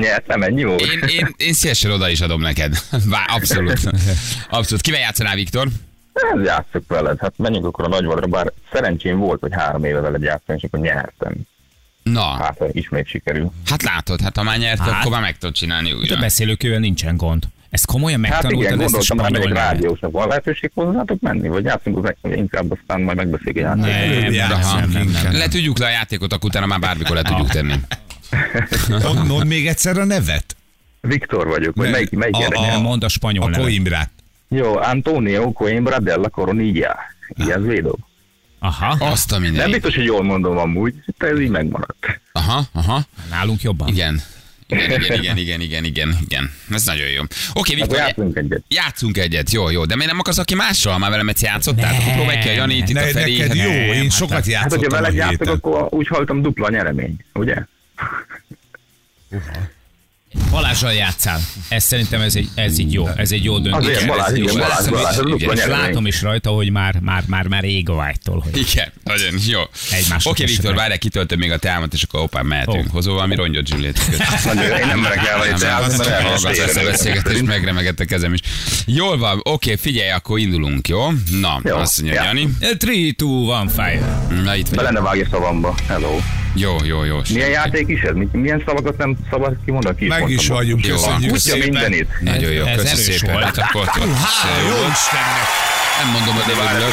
S5: Nyertem, ennyi volt.
S2: Én, én, én szívesen oda is adom neked. Vá, abszolút. Abszolút. Kivel játszanál, Viktor?
S5: Ez játszok veled, hát menjünk akkor a nagyvadra, bár szerencsém volt, hogy három éve veled játszani, és akkor nyertem.
S2: Na,
S5: Hát, ha ismét sikerül.
S2: hát látod, hát ha már nyert,
S3: Hát.
S2: akkor már meg tudod csinálni
S3: a
S2: újra.
S3: beszélőkővel nincsen gond. Ezt komolyan
S5: Hát igen,
S3: megtanultad, ezt is
S5: gondoltam, már meg egy
S3: spanyol nyelven?
S5: rádiósnak van lehetőség hozzátok menni, vagy játszunk meg, inkább aztán majd megbeszéljük a játékot.
S3: Nem,
S4: Játszunk
S3: Aha, nem, nem, nem.
S4: inkább.
S2: Le tudjuk le a játékot, akkor utána már bármikor le tudjuk tenni.
S4: Mondd még egyszer a nevet.
S5: Viktor vagyok, vagy melyik, melyik
S3: A, a,
S5: érdekel?
S3: mondd a spanyol
S4: A
S3: nevet.
S4: Coimbrát.
S5: Jó, Antonio Coimbra della Coronilla. Ilyen védó.
S3: Aha,
S2: Azt a
S5: Nem
S2: minden.
S5: biztos, hogy jól mondom amúgy, de ez így megmaradt.
S2: Aha, aha.
S3: nálunk jobban.
S2: Igen. Igen, igen, igen, igen, igen, igen, igen. Ez nagyon jó. Oké,
S5: Akkor
S2: Viktor,
S5: játszunk egyet.
S2: játszunk egyet. Jó, jó. De miért nem akarsz, aki mással már velem egyszer játszottál? Akkor próbálj ki a Janit, itt a
S4: Ne,
S2: Feri.
S4: neked jó, én sokat
S5: Hát, hogyha
S4: játszottam a
S5: veled játszok,
S4: héten.
S5: akkor úgy hallottam dupla nyeremény, ugye?
S3: Balázsral játszál. Ez szerintem ez egy, ez így jó, ez egy jó döntés.
S5: Azért
S2: Igen,
S5: Balázs,
S2: ez
S5: igen,
S2: jó,
S5: Balázs,
S2: ez
S5: Balázs, ez
S2: igen,
S5: dupla
S2: ezt
S3: És
S5: nyeremény.
S3: látom is rajta, hogy már, már, már, már ég a vágytól. Hogy...
S2: Igen, nagyon jó.
S3: Egymásra
S2: Oké, Viktor,
S3: tessetek.
S2: várj, kitöltöm még a teámat, és akkor opán mehetünk.
S3: Ó.
S2: Hozol valami rongyot, Juliet.
S5: Nagyon, én nem merek elvenni teát, mert
S2: Hallgatsz ezt a beszélgetést, megremegett a kezem is. Jól van, oké, figyelj, akkor indulunk, jó? Na,
S5: Jó,
S2: azt mondja
S5: já.
S2: Jani.
S3: 3, 2, 1, fire.
S2: Na, itt
S5: Bele
S2: vagy.
S5: ne vágj a szavamba. Hello.
S2: Jó, jó, jó.
S5: Milyen játék is ez? Mi- Milyen szavakat nem szabad kimondani? Ki is
S4: Meg is
S5: mondtam.
S4: vagyunk,
S2: Jó van.
S4: köszönjük
S5: Tudja
S4: szépen.
S5: mindenit.
S2: Nagyon jó,
S3: Ez
S2: köszi
S3: erős
S2: szépen.
S3: volt.
S2: Hát akkor ott vagy.
S4: Há, jó Istennek!
S2: Nem mondom, hogy nem örülök.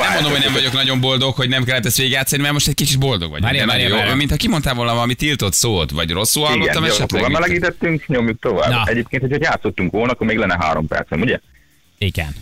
S2: Nem mondom, hogy nem vagyok nagyon boldog, hogy nem kellett ezt végjátszani, mert most egy kicsit boldog vagyok.
S3: Várjál,
S2: De nagyon
S3: várjál,
S2: jó.
S3: várjál.
S2: Mintha kimondtál volna valami tiltott szót, vagy rosszul hallottam
S5: Igen, jó, akkor
S2: esetleg. Viktor?
S5: bemelegítettünk, nyomjuk tovább.
S3: Na.
S5: Egyébként, hogyha játszottunk volna, akkor még lenne három percem, ugye?
S3: Igen.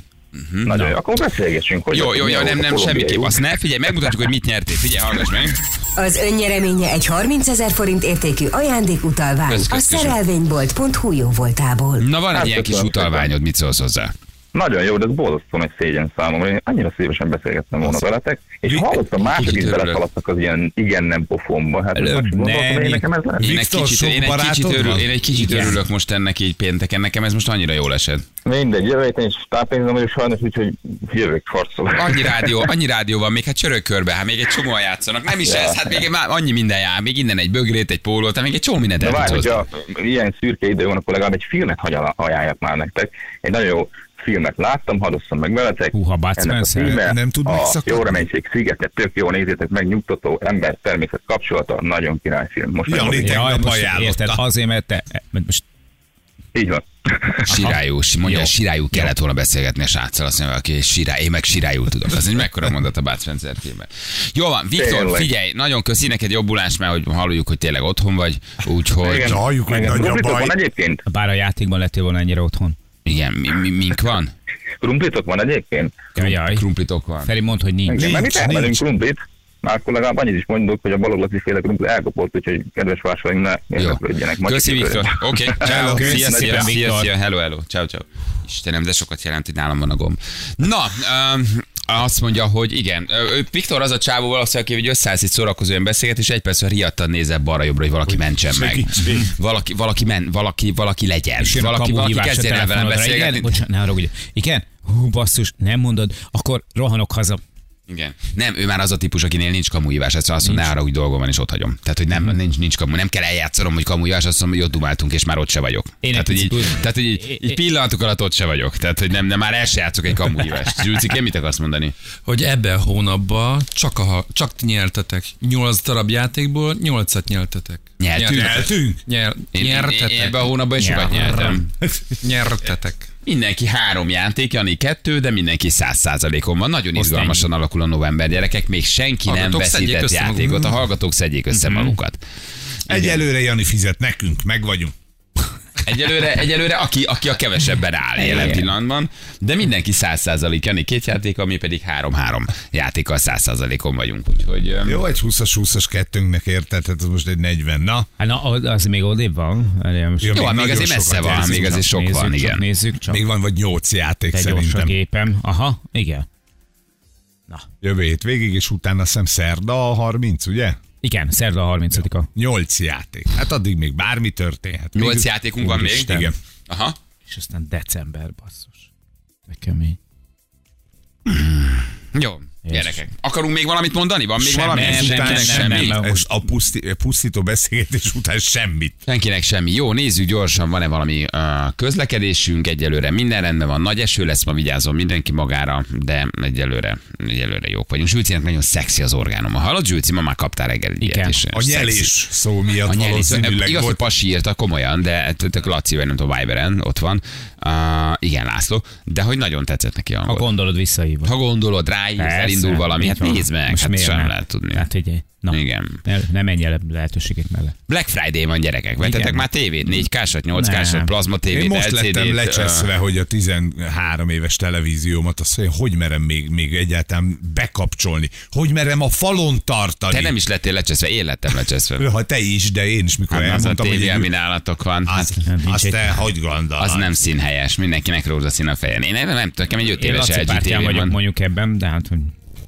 S5: Nagyon jó, akkor beszélgessünk. Hogy
S2: Hm, Jó,
S5: mi
S2: jó, jó,
S5: volt
S2: nem,
S5: a
S2: nem,
S5: kolumbiai
S2: semmiképp.
S5: út.
S2: Azt ne, figyelj, megmutatjuk, hogy mit nyertél. Figyelj, hallgass meg.
S6: Az önnyereménye egy 30 ezer forint értékű ajándékutalvány
S2: Kösz,
S6: a
S2: kösz, köszönöm.
S6: szerelvénybolt.hu jó voltából.
S2: Na van egy
S5: Hát,
S2: ilyen kis
S5: köszönöm,
S2: utalványod, mit szólsz hozzá?
S5: Nagyon jó, de ez borzasztó nagy szégyen számomra. Én annyira szívesen beszélgettem volna veletek, és
S2: Mi-
S5: hallottam, mások
S2: kicsit
S5: is
S2: örülök.
S5: beleszaladtak az ilyen igen-nem pofomba. Hát
S3: Előbb
S5: most gondoltam,
S3: nem,
S5: hogy én
S3: én-
S5: nekem ez lesz.
S2: Én egy
S4: Viktor,
S2: kicsit,
S4: sok
S2: én egy kicsit,
S4: barátod
S2: örül,
S4: van?
S2: én egy kicsit örülök most ennek így pénteken, nekem ez most annyira jól esett.
S5: Mindegy, jövő héten is tápénzem vagyok sajnos, úgyhogy jövök harcolok.
S2: Annyi rádió, annyi rádió van, még hát csörök körbe, hát még egy csomóan játszanak. Nem is ez, hát még már annyi minden jár, még innen egy bögrét, egy pólót, hát még egy csomó mindent
S5: De
S2: el tudsz
S5: várj,
S2: hozni.
S5: hogyha ilyen szürke idő van, akkor legalább egy filmet hagyal- ajánljak már nektek. Egy nagyon jó filmet láttam, hadd osszam meg veletek.
S3: Húha, Bud
S5: Ennek a
S3: Spencer.
S5: címe
S4: Nem tud
S5: a
S4: megszakadni.
S5: Jó reménység szigetet, tök jó, nézzétek meg, nyugtató ember, természet kapcsolata, nagyon király film. Most
S4: Jani,
S5: megmondom.
S4: Tegnap
S3: Jaj, most
S4: ajánlotta.
S3: érted, azért, mert te... Mert most
S5: Így van.
S2: Sirályú, mondja,
S3: Jó.
S2: Sirályú kellett volna beszélgetni a sráccal, azt mondja, aki Sirály, én meg Sirályú tudok. Az egy mekkora mondat a Bud Spencer filmben. Jó van, Viktor,
S5: Tényleg.
S2: figyelj, nagyon köszi neked jobbulást, mert hogy halljuk, hogy tényleg otthon vagy, úgyhogy
S4: Igen. halljuk, hogy
S5: Meg
S4: nagy a
S5: krumplitok
S4: baj.
S5: Van egyébként?
S3: bár a játékban lettél volna ennyire otthon.
S2: igen, mi, mi, mink van?
S5: Krumplitok van egyébként?
S3: Jaj.
S2: Krumplitok van.
S3: Feri, mondd, hogy nincs.
S5: Igen, mert mi
S4: Nincs,
S5: termelünk
S4: nincs.
S5: krumplit, már akkor legalább annyit is mondok, hogy a baloglati féle krumpli elkopott, úgyhogy kedves vásárlóink ne
S2: Jó.
S5: érdeklődjenek. Majd
S2: Köszi,
S5: kifőre.
S2: Viktor. Oké, ciao.
S3: Köszi
S2: Szia,
S3: szépen,
S2: szia, szia,
S3: Viktor.
S2: szia. Hello, hello. Ciao, ciao. Istenem, de sokat jelent, hogy nálam van a gomb. Na, um, azt mondja, hogy igen. Ö, ő- Viktor az a csávó valószínűleg, aki egy összeállsz itt szórakozóan beszélget, és egy percben riadtan nézett balra-jobbra, hogy valaki mentsen meg. Valaki, valaki, men, valaki, valaki legyen.
S3: És jön a
S2: valaki,
S3: kamu
S2: valaki
S3: hívás a
S2: kezdjen el velem
S3: telefonodra. Igen,
S2: beszélgetni.
S3: bocsánat, ne haragudj. Igen? Hú, basszus, nem mondod, akkor rohanok haza.
S2: Igen. Nem, ő már az a típus, akinél nincs kamuhívás, ezt azt mondja, ne arra, hogy dolgom van, és ott hagyom. Tehát, hogy nem, nincs, nincs kamu, nem kell eljátszanom, hogy kamuhívás, azt mondom, hogy ott dumáltunk, és már ott se vagyok.
S3: Én
S2: tehát,
S3: egy
S2: hogy így,
S3: picit úgy-
S2: tehát, hogy így, így, pillanatok alatt ott se vagyok. Tehát, hogy nem, nem már el se játszok egy kamuhívást. Zsülcik, mit akarsz mondani?
S7: hogy ebben a hónapban csak, a, csak ti nyertetek. Nyolc darab játékból nyolcat nyertetek.
S2: Nyertünk?
S4: Eltűnk?
S7: Nyer,
S2: Én, én,
S7: nyertetek.
S2: én ebben a hónapban is sokat nyertem.
S7: nyertetek.
S2: Mindenki három játék, Jani kettő, de mindenki száz százalékon van. Nagyon izgalmasan alakul a november gyerekek, még senki nem
S7: Hallgatók, szedjék
S2: veszített
S7: össze
S2: játékot. A
S7: magukat.
S2: hallgatók szedjék össze magukat.
S4: Egyelőre Jani fizet nekünk, meg vagyunk.
S2: Egyelőre, egyelőre aki, aki a kevesebben áll jelen pillanatban, de mindenki száz százalék, Jani két játék, mi pedig három-három játékkal száz százalékon vagyunk, úgyhogy... öm,
S4: Jó, hát egy 20-as, 20-as kettőnknek érted, tehát ez most egy 40. Na,
S3: Hát na, az az még odébb van. Várjál, most
S4: Jó,
S2: Jó,
S4: még
S2: hát még
S4: nagyon
S2: azért
S4: sokat
S2: messze van,
S4: játszik,
S2: még azért sok
S3: nézzük,
S2: van,
S3: csak
S2: igen.
S3: Nézzük, csak
S4: még van vagy 8 játék
S3: te gyors a
S4: szerintem.
S3: gépem. Aha, igen.
S4: Jövő hét végig, és utána szem szerda a 30, ugye?
S3: Igen, szerda a 30-a.
S4: 8 játék. Hát addig még bármi történhet. Még-
S2: Nyolc játékunk van még?
S4: Úristen. Igen.
S2: Aha.
S3: És aztán december, basszus. De kemény.
S2: Jó, gyerekek. Akarunk még valamit mondani? Van még
S3: Semmi,
S2: valami?
S3: nem,
S2: Senkinek
S3: nem, nem,
S2: semmi?
S3: nem, nem.
S4: Ez a puszti, pusztító beszélgetés után semmit.
S2: Senkinek semmi. Jó, nézzük gyorsan, van-e valami uh, közlekedésünk. Egyelőre minden rendben van. Nagy eső lesz, ma vigyázom mindenki magára, de egyelőre, egyelőre jók vagyunk. Zsülcinek nagyon szexi az orgánum. Ha hallod, Zsülci, ma már kaptál reggel egy ilyet
S3: Igen.
S2: is.
S4: A nyelés szó miatt
S2: A nyelvi szó-
S4: valószínűleg
S2: Igaz, hogy
S4: volt.
S2: Pasi írta komolyan, de tök Laci, vagy nem tudom, Viberen, ott van. Uh, igen, László. De hogy nagyon tetszett neki a
S3: Ha
S2: hangot.
S3: gondolod, visszahívom.
S2: Ha gondolod, ráírsz, elindul valami, hát nézd meg, hát sem lehet tudni.
S3: Hát figyelj. Na,
S2: Igen.
S3: Ne, ne menj el lehetőségek mellett.
S2: Black Friday van gyerekek, vettetek
S3: Igen.
S2: már tévét, 4K-sat, 8K-sat,
S3: Nem.
S2: plazma tévét,
S4: Én most
S2: LCD-t,
S4: lettem lecseszve,
S2: ö,
S4: hogy a 13 éves televíziómat, azt mondja, hogy merem még, még egyáltalán bekapcsolni, hogy merem a falon tartani.
S2: Te nem is lettél lecseszve, én lettem lecseszve.
S4: Ha te is, de én is, mikor
S2: Hát az a
S4: elmondtam, hogy
S2: tévé,
S4: én-
S2: ami nálatok van.
S4: az,
S2: hát-
S3: nincs
S4: azt
S3: egy-
S4: te hogy gondolod?
S2: az nem színhelyes, mindenkinek rózsaszín a fején. Én nem, nem tudom, nekem egy 5
S3: Én
S2: éves
S3: Laci
S2: LG
S3: pártján
S2: tévém
S3: vagyok
S2: van.
S3: mondjuk ebben, de hát hogy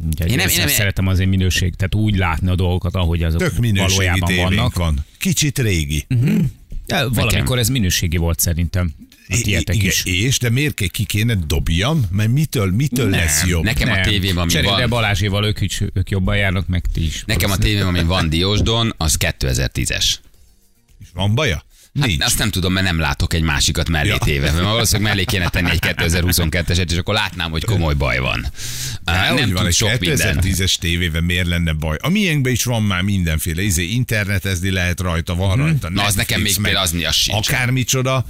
S3: ugye,
S2: Én
S3: én
S2: nem-
S3: nem,
S2: én nem-
S3: szeretem az én minőség, tehát úgy látni a dolgokat, ahogy azok
S4: Tök minőségi
S3: valójában
S4: tévénk
S3: vannak.
S4: van. Kicsit régi.
S2: Hm,
S3: Ja, valamikor ez minőségi volt szerintem.
S2: hát
S3: A
S4: I-
S3: tietek
S4: igen,
S3: is.
S4: És, de miért kell ki kéne dobjam? Mert mitől, mitől nem, lesz jobb?
S2: Nekem a
S3: Nem.
S2: tévém, ami
S3: Cseréld
S2: van.
S3: el Balázséval, ők, is, ők jobban járnak, meg ti is.
S2: Nekem a tévém, ami van Diósdon, az 2010-es.
S4: Van baja? Nincs.
S2: Hát azt nem tudom, mert nem látok egy másikat mellé ja.
S4: Ja.
S2: téve. Mert valószínűleg mellé kéne tenni egy 2022-eset, és akkor látnám, hogy komoly baj van.
S4: Há,
S2: Á, nem
S4: Hát úgy van,
S2: tud
S4: egy
S2: sok minden.
S4: 2010-es tévében miért lenne baj? A miénkben is van már mindenféle, izé, internetezni lehet rajta, van rajta.
S2: Mhm. Na, az
S4: Netflix,
S2: nekem még
S4: meg
S2: például az- az sincs.
S4: Akármicsoda,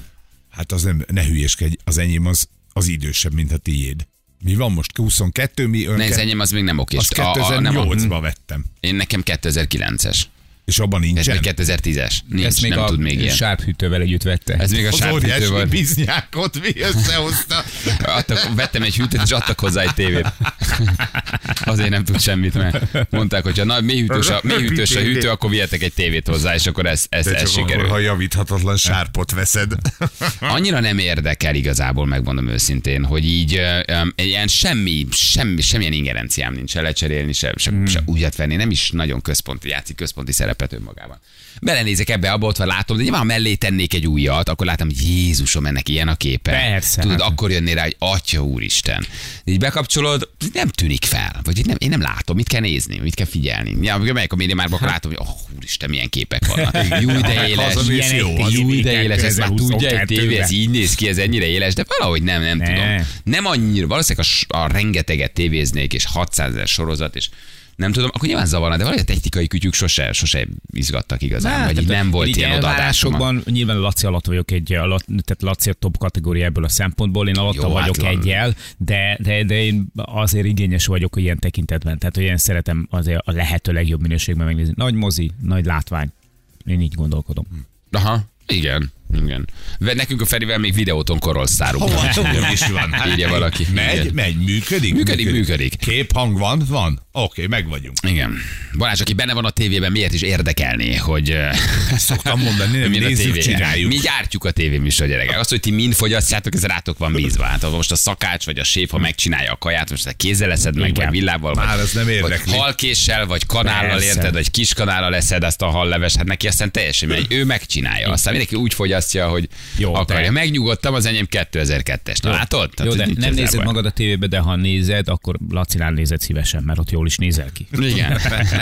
S4: hát az nem, ne hülyéskedj, az enyém az, az idősebb, mint a tiéd. Mi van most? 22, mi ön
S2: Ne, az enyém az még nem okés.
S4: az
S2: nem a-
S4: 2008-ba vettem.
S2: Én nekem 2009-es.
S4: És abban
S2: Ez
S4: nincsen.
S2: még 2010-es. Nincs,
S3: Ezt még
S2: nem
S3: a
S2: tud még ilyen.
S3: sárphűtővel együtt vette.
S2: Ez még a
S4: az óriási
S2: sárfűtő volt.
S4: biznyákot mi összehozta.
S2: Adtak, vettem egy hűtőt, és adtak hozzá egy tévét. Azért nem tud semmit, mert mondták, hogy ha na, mély hűtős a, mély hűtős a hűtő, akkor vihetek egy tévét hozzá, és akkor ez, ez,
S4: De
S2: ez
S4: csak akkor,
S2: sikerül.
S4: ha javíthatatlan sárpot veszed.
S3: Hm?
S2: Annyira nem érdekel igazából, megmondom őszintén, hogy így ö, ö, egy ilyen semmi, semmi, semmilyen ingerenciám nincs se lecserélni, se, se, hmm. se újat venni, nem is nagyon központi, játszik központi szerepet önmagában. Belenézek ebbe, abba, ott van, látom, de nyilván ha mellé tennék egy újat, akkor látom, hogy Jézusom, ennek ilyen a képe.
S3: Persze,
S2: Tudod,
S3: hát.
S2: akkor jönné rá, hogy Atya Úristen. Így bekapcsolod, nem tűnik fel, vagy így nem, én nem látom, mit kell nézni, mit kell figyelni. Ja, amikor megyek a médiamárba,
S3: Hát.
S2: akkor látom, hogy oh, Úristen, milyen képek vannak. Jó, de éles,
S4: Hazamész,
S2: ilyen
S4: jó,
S2: egy-
S4: az
S2: jó, de éles, ezt már tudja egy
S3: 2022-ben.
S2: tévé, ez így néz ki, ez ennyire éles, de valahogy nem, nem
S3: Ne.
S2: tudom. Nem annyira, valószínűleg a, s- a rengeteget tévéznék, és 600 ezer sorozat, és nem tudom, akkor nyilván zavarna, de valahogy a technikai kütyük sose, sose izgattak igazán,
S3: Hát,
S2: vagy így
S3: tehát
S2: nem volt
S3: így
S2: ilyen odaadásokban.
S3: elvárásokban nyilván Laci alatt vagyok egy, a La- tehát Laci a top kategória ebből a szempontból, én alatta
S2: Jó, hát
S3: vagyok
S2: van.
S3: egyel, de, de, de én azért igényes vagyok ilyen tekintetben, tehát hogy én szeretem azért a lehető legjobb minőségben megnézni. Nagy mozi, nagy látvány. Én így gondolkodom.
S2: Hm. Aha, igen, igen. Ve- Nekünk a Ferivel még videóton korol szárunk.
S4: Hova tudom is van. Hát
S2: Írja valaki.
S4: Megy,
S2: Igen.
S4: megy, működik?
S2: Működik, működik.
S4: Kép, hang van? Van. Oké, meg vagyunk.
S2: Igen. Balázs, aki benne van a tévében, miért is érdekelné, hogy... eh,
S4: Szoktam mondani, nem
S2: mi van a
S4: nézzük,
S2: tévé?
S4: csináljuk.
S2: Mi gyártjuk a tévéműsor, gyerekek. Azt, hogy ti mind fogyasztjátok, ez rátok van bízva. Hát, ha most a szakács vagy a séf, ha megcsinálja a kaját, most te kézzel leszed meg,
S3: Igen.
S2: vagy villával,
S4: Már
S2: vagy,
S4: ez nem
S2: vagy
S4: érdekli.
S2: halkéssel, vagy kanállal
S3: Persze.
S2: érted, vagy kis kanállal leszed azt a halleves, hát neki aztán teljesen mindegy. Ő megcsinálja. Aztán mindenki úgy fogyasztja, hogy Jó,
S3: Jó, de-
S2: akarja. Megnyugodtam, az enyém 2002-es. Na, látod?
S3: Jó,
S2: Tehát,
S3: de
S2: nincs
S3: nem
S2: ezzel
S3: nézed
S2: baj.
S3: magad a tévébe, de ha nézed, akkor Lacinál nézed szívesen, mert ott jól is nézel ki.
S2: Igen.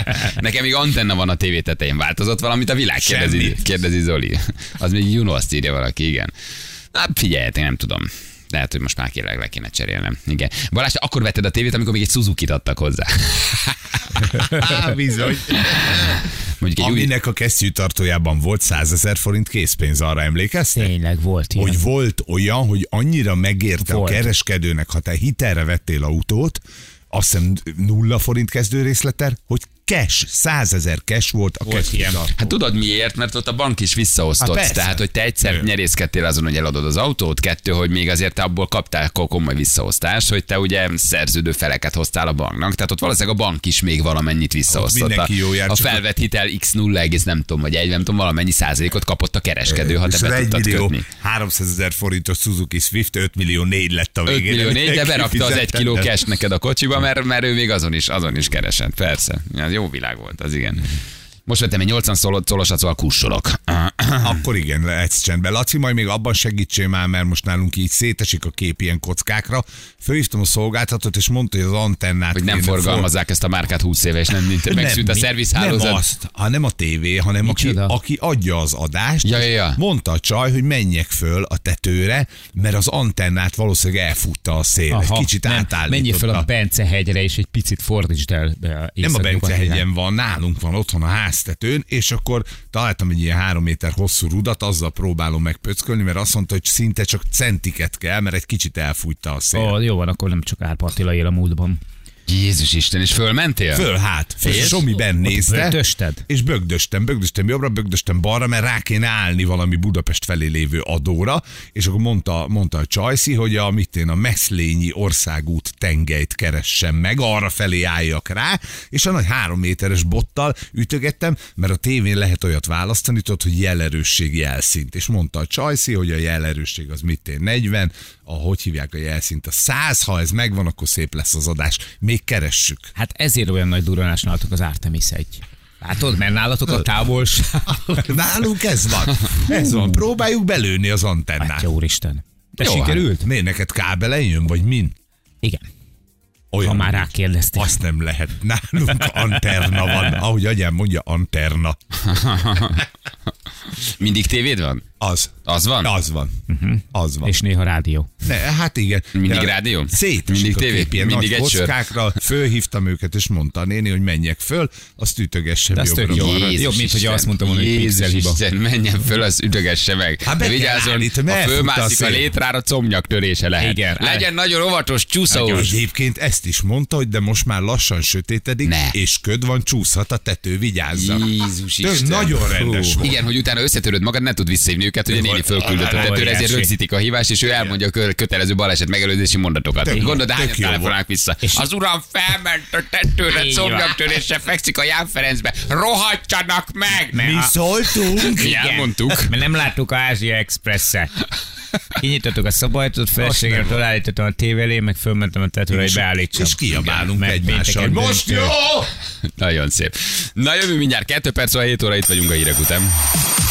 S2: Nekem még antenna van a tévé tetején. Változott valamit a világ? Kérdezi,
S4: Semmit.
S2: kérdezi Zoli. Az még Juno, azt írja valaki, igen. Na, figyeljetek, nem tudom. Lehet, hogy most már kérlek le kéne cserélnem. Igen. Balázs, te akkor vetted a tévét, amikor még egy Suzuki-t adtak hozzá.
S4: Á, bizony.
S2: Mondjuk egy új...
S4: Aminek a kesztyűtartójában volt 100 ezer forint készpénz, arra emlékeztek?
S3: Tényleg volt ilyen.
S4: Hogy volt olyan, hogy annyira megérte
S3: Volt.
S4: a kereskedőnek, ha te hitelre vettél autót, azt hiszem nulla forint kezdőrészleter, hogy cash, 100 ezer cash volt a kesztyűtartó.
S2: Hát tudod miért? Mert ott a bank is visszaosztott.
S4: Hát
S2: Hát
S4: persze.
S2: tehát, hogy te egyszer
S4: Ő.
S2: nyerészkedtél azon, hogy eladod az autót, kettő, hogy még azért te abból kaptál akkor komoly visszaosztást, hogy te ugye szerződő feleket hoztál a banknak. Tehát ott valószínűleg a bank is még valamennyit visszaosztott. A,
S4: mindenki jó jár,
S2: a
S4: csak
S2: felvett hitel x 0, nem tudom, vagy egy, nem tudom, valamennyi százalékot kapott a kereskedő, Hát ha te
S4: Viszont
S2: be
S4: egy
S2: tudtad
S4: millió
S2: kötni.
S4: 300 ezer forintos Suzuki Swift, 5 millió 4 lett a
S2: 5
S4: végén.
S2: millió négy, de berakta az egy kiló
S4: Kifizetted.
S2: cash neked a kocsiba, mert, mert ő még azon is, azon is keresett, persze. Ja, jó világ volt, az
S4: Mhm.
S2: igen. Most vettem egy 80 szolo- szolosat, szóval kussolok.
S4: Akkor igen, lehetsz csendben. Laci, majd még abban segítsél már, mert most nálunk így szétesik a kép ilyen kockákra. Fölhívtam a szolgáltatót, és mondta, hogy az antennát...
S2: Hogy nem
S4: kéne
S3: szóval-
S2: forgalmazzák ezt a márkát 20 éve, és nem nincs,
S4: Nem,
S2: megszűnt a
S4: mi- Nem
S2: szervizhálózat.
S4: azt, hanem a tévé, hanem aki,
S3: Micsoda?
S4: aki adja az adást.
S2: Ja, ja, ja.
S4: Mondta a csaj, hogy menjek föl a tetőre, mert az antennát valószínűleg elfutta a szél. Aha, Egy kicsit átállította.
S3: Menjél fel a Bence hegyre, és egy picit fordítsd el.
S4: Nem a Bencehegyen van, nálunk van otthon a háztetőn, és akkor találtam egy ilyen három méter hosszú rudat, azzal próbálom megpöckölni, mert azt mondta, hogy szinte csak centiket kell, mert egy kicsit elfújta a szél.
S3: Ó, jó van, akkor nem csak Árpa Attila él a múltban.
S2: Jézus Isten, és fölmentél?
S4: Föl hát. Föl
S2: És?
S4: Somi benn nézte.
S3: bögdösted?
S4: És bögdöstem, bögdöstem jobbra, bögdöstem balra, mert rá kéne állni valami Budapest felé lévő adóra, és akkor mondta, mondta a Csajci, hogy a, mit én, a Meszlényi országút tengelyt keressem meg, arra felé álljak rá, és a nagy három méteres bottal ütögettem, mert a tévén lehet olyat választani, tudod, hogy jelerősség jelszint. És mondta a Csajci, hogy a jelerősség az mit én, 40, a, hogy hívják a jelszint, a 100, ha ez megvan, akkor szép lesz az adás. Még keressük.
S3: Hát ezért olyan nagy duranás nálatok az Artemis egy. Látod, mert nálatok a távolság.
S4: Nálunk ez van. Ez van. Próbáljuk belőni az antennát.
S3: Atya úristen. De
S4: Jó,
S3: Hát sikerült?
S4: Hát, miért neked kábelen jön, vagy min?
S3: Igen. Ha már rákérdeztél.
S4: Azt nem lehet. Nálunk anterna van. Ahogy agyám mondja, anterna.
S2: Mindig tévéd van?
S4: Az.
S2: Az van?
S4: Az van. Uh-huh. Az van.
S3: Mhm. És néha rádió.
S4: Ne, hát igen.
S2: Mindig
S4: De
S2: rádió?
S4: Szétesik
S2: Mindig
S4: a
S2: tévé?
S4: kép ilyen
S2: Mindig
S4: nagy
S2: egy sör?
S4: kockákra. Fölhívtam őket, és mondta a néni, hogy menjek föl, azt ütögessem
S3: De az tök
S4: jobbra.
S3: jó. hát
S4: balra.
S3: Jobb, mint hogyha azt mondtam volna, hogy
S2: Jézus
S3: pixel hiba.
S2: Isten, menjen föl, az ütögesse meg.
S4: Hát be
S2: De
S4: kell
S2: vigyázzon,
S4: állni, te
S2: ha
S4: merre fut a
S2: fölmászik a
S4: szél?
S2: létrára, comnyak törése lehet.
S3: Igen,
S2: Legyen nagyon óvatos, csúszós.
S4: Egyébként ezt is mondta, hogy de most már lassan sötétedik,
S2: Ne.
S4: és köd van, csúszhat a tető, vigyázza.
S2: Jézus
S4: Tök
S2: Isten.
S4: nagyon rendes volt.
S2: Igen, hogy utána összetöröd magad, nem tud visszahívni őket, hogy a néni fölküldött a tetőre, ezért rögzítik a hívást, és ő elmondja a kö- kötelező baleset megelőzési mondatokat.
S4: Tök jó,
S2: Gondolod,
S4: tök
S2: hányan
S4: jó
S2: telefonálnak vissza. Az uram felment a tetőre,
S3: Így
S2: szomnyaktörésre fekszik a Ján Ferencbe. Rohadjanak meg!
S4: Mi szóltunk?
S2: Mi elmondtuk.
S3: Mert nem láttuk a Ázsia Express-et. Kinyitottuk a szabajtot, feleségem felállítottam a tévelé, meg fölmentem a tetőre, hogy beállítsam.
S4: és kiabálunk
S3: Igen, mert
S4: egymással.
S3: pénteken
S4: Most
S3: döntő.
S4: jó!
S2: Nagyon szép. Na jövő mindjárt 2 perc, a 7 óra itt vagyunk a hírek után.